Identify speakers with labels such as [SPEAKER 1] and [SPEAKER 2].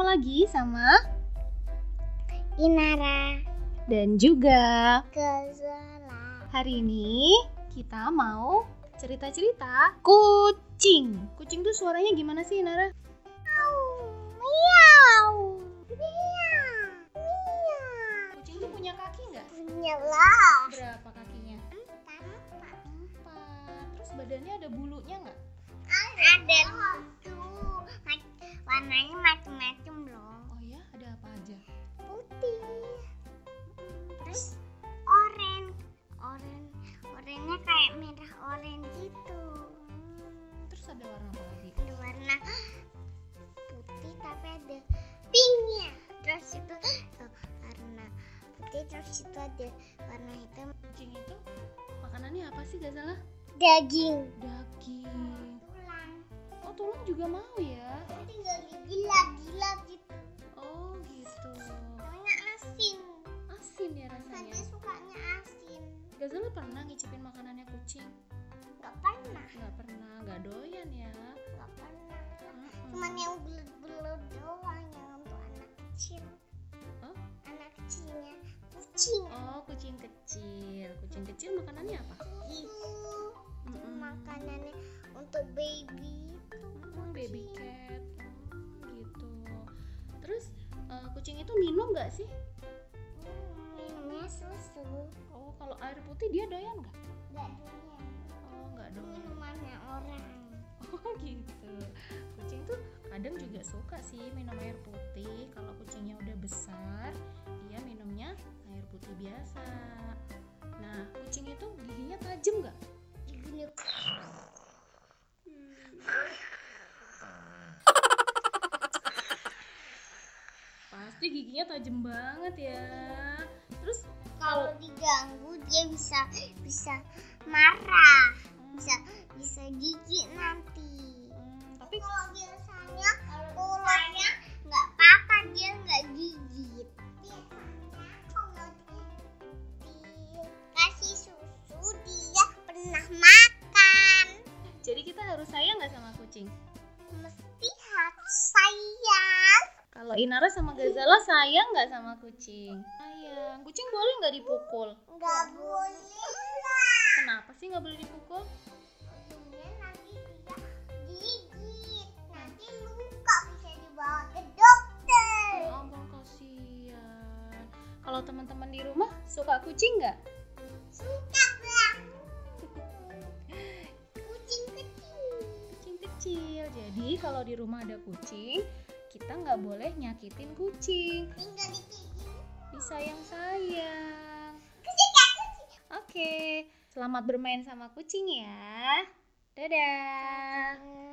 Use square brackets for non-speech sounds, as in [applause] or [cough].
[SPEAKER 1] lagi sama
[SPEAKER 2] [laughs] Inara
[SPEAKER 1] dan juga
[SPEAKER 2] Kezola
[SPEAKER 1] hari ini kita mau cerita-cerita kucing. Kucing tuh suaranya gimana sih Nara?
[SPEAKER 2] Miau Miau Miau
[SPEAKER 1] Kucing tuh punya kaki nggak?
[SPEAKER 2] Punya lah
[SPEAKER 1] Berapa kakinya? Empat. Terus badannya ada bulunya nggak?
[SPEAKER 2] Ada tuh Mac- Warnanya macam-macam loh
[SPEAKER 1] Oh ya, ada apa aja?
[SPEAKER 2] Putih Terus oren Oren Orennya kayak merah oren gitu
[SPEAKER 1] Terus ada warna apa lagi?
[SPEAKER 2] Ada warna putih tapi ada pinknya terus itu eh, warna putih terus itu ada warna hitam
[SPEAKER 1] Kucing itu makanannya apa sih gak salah?
[SPEAKER 2] daging
[SPEAKER 1] Daging.
[SPEAKER 2] tulang
[SPEAKER 1] Oh tulang juga mau ya?
[SPEAKER 2] tinggal digilat-gilat gitu
[SPEAKER 1] Oh gitu.
[SPEAKER 2] namanya asin
[SPEAKER 1] Asin ya
[SPEAKER 2] Saya
[SPEAKER 1] rasanya.
[SPEAKER 2] sukanya asin
[SPEAKER 1] Gazala pernah ngicipin makanannya kucing?
[SPEAKER 2] nggak pernah
[SPEAKER 1] Nggak pernah, nggak doyan ya.
[SPEAKER 2] nggak pernah
[SPEAKER 1] Mm-mm.
[SPEAKER 2] cuman yang belut-belut doang yang untuk anak kecil
[SPEAKER 1] Hah?
[SPEAKER 2] anak kecilnya kucing
[SPEAKER 1] Oh kucing kecil, kucing kecil makanannya apa?
[SPEAKER 2] gitu
[SPEAKER 1] Mm-mm.
[SPEAKER 2] makanannya untuk baby itu
[SPEAKER 1] Hmm, baby cat Hmm, gitu. Terus eh, kucing itu minum nggak sih?
[SPEAKER 2] minumnya susu
[SPEAKER 1] Oh kalau air putih dia doyan nggak?
[SPEAKER 2] nggak dunia
[SPEAKER 1] Oh nggak doyan.
[SPEAKER 2] minumannya orang
[SPEAKER 1] [laughs] Oh gitu. Kucing tuh kadang juga suka sih minum air putih. Kalau kucingnya udah besar, dia minumnya air putih biasa. Nah, kucing itu giginya tajam nggak?
[SPEAKER 2] gini
[SPEAKER 1] Hmm. Pasti giginya tajam banget ya. Terus
[SPEAKER 2] kalau diganggu dia bisa bisa marah
[SPEAKER 1] hmm,
[SPEAKER 2] bisa bisa gigit nanti
[SPEAKER 1] hmm, tapi
[SPEAKER 2] kalau biasanya ularnya nggak apa-apa dia nggak gigit biasanya kalau di- dikasih susu dia pernah makan
[SPEAKER 1] jadi kita harus sayang nggak sama kucing?
[SPEAKER 2] mesti harus sayang
[SPEAKER 1] Kalau Inara sama Gazala sayang nggak sama kucing? Sayang. Kucing boleh nggak dipukul?
[SPEAKER 2] nggak boleh lah
[SPEAKER 1] Kenapa sih nggak boleh dipukul?
[SPEAKER 2] ujungnya nanti dia gigit nanti luka bisa dibawa ke dokter
[SPEAKER 1] Ya ampun kasihan. Kalau teman-teman di rumah suka kucing nggak?
[SPEAKER 2] suka bang kucing kecil
[SPEAKER 1] Kucing kecil. Jadi kalau di rumah ada kucing, kita nggak boleh nyakitin kucing.
[SPEAKER 2] tinggal digigit
[SPEAKER 1] Disayang-sayang.
[SPEAKER 2] kucing kecil
[SPEAKER 1] ya. Oke, selamat bermain sama kucing ya. Dadah.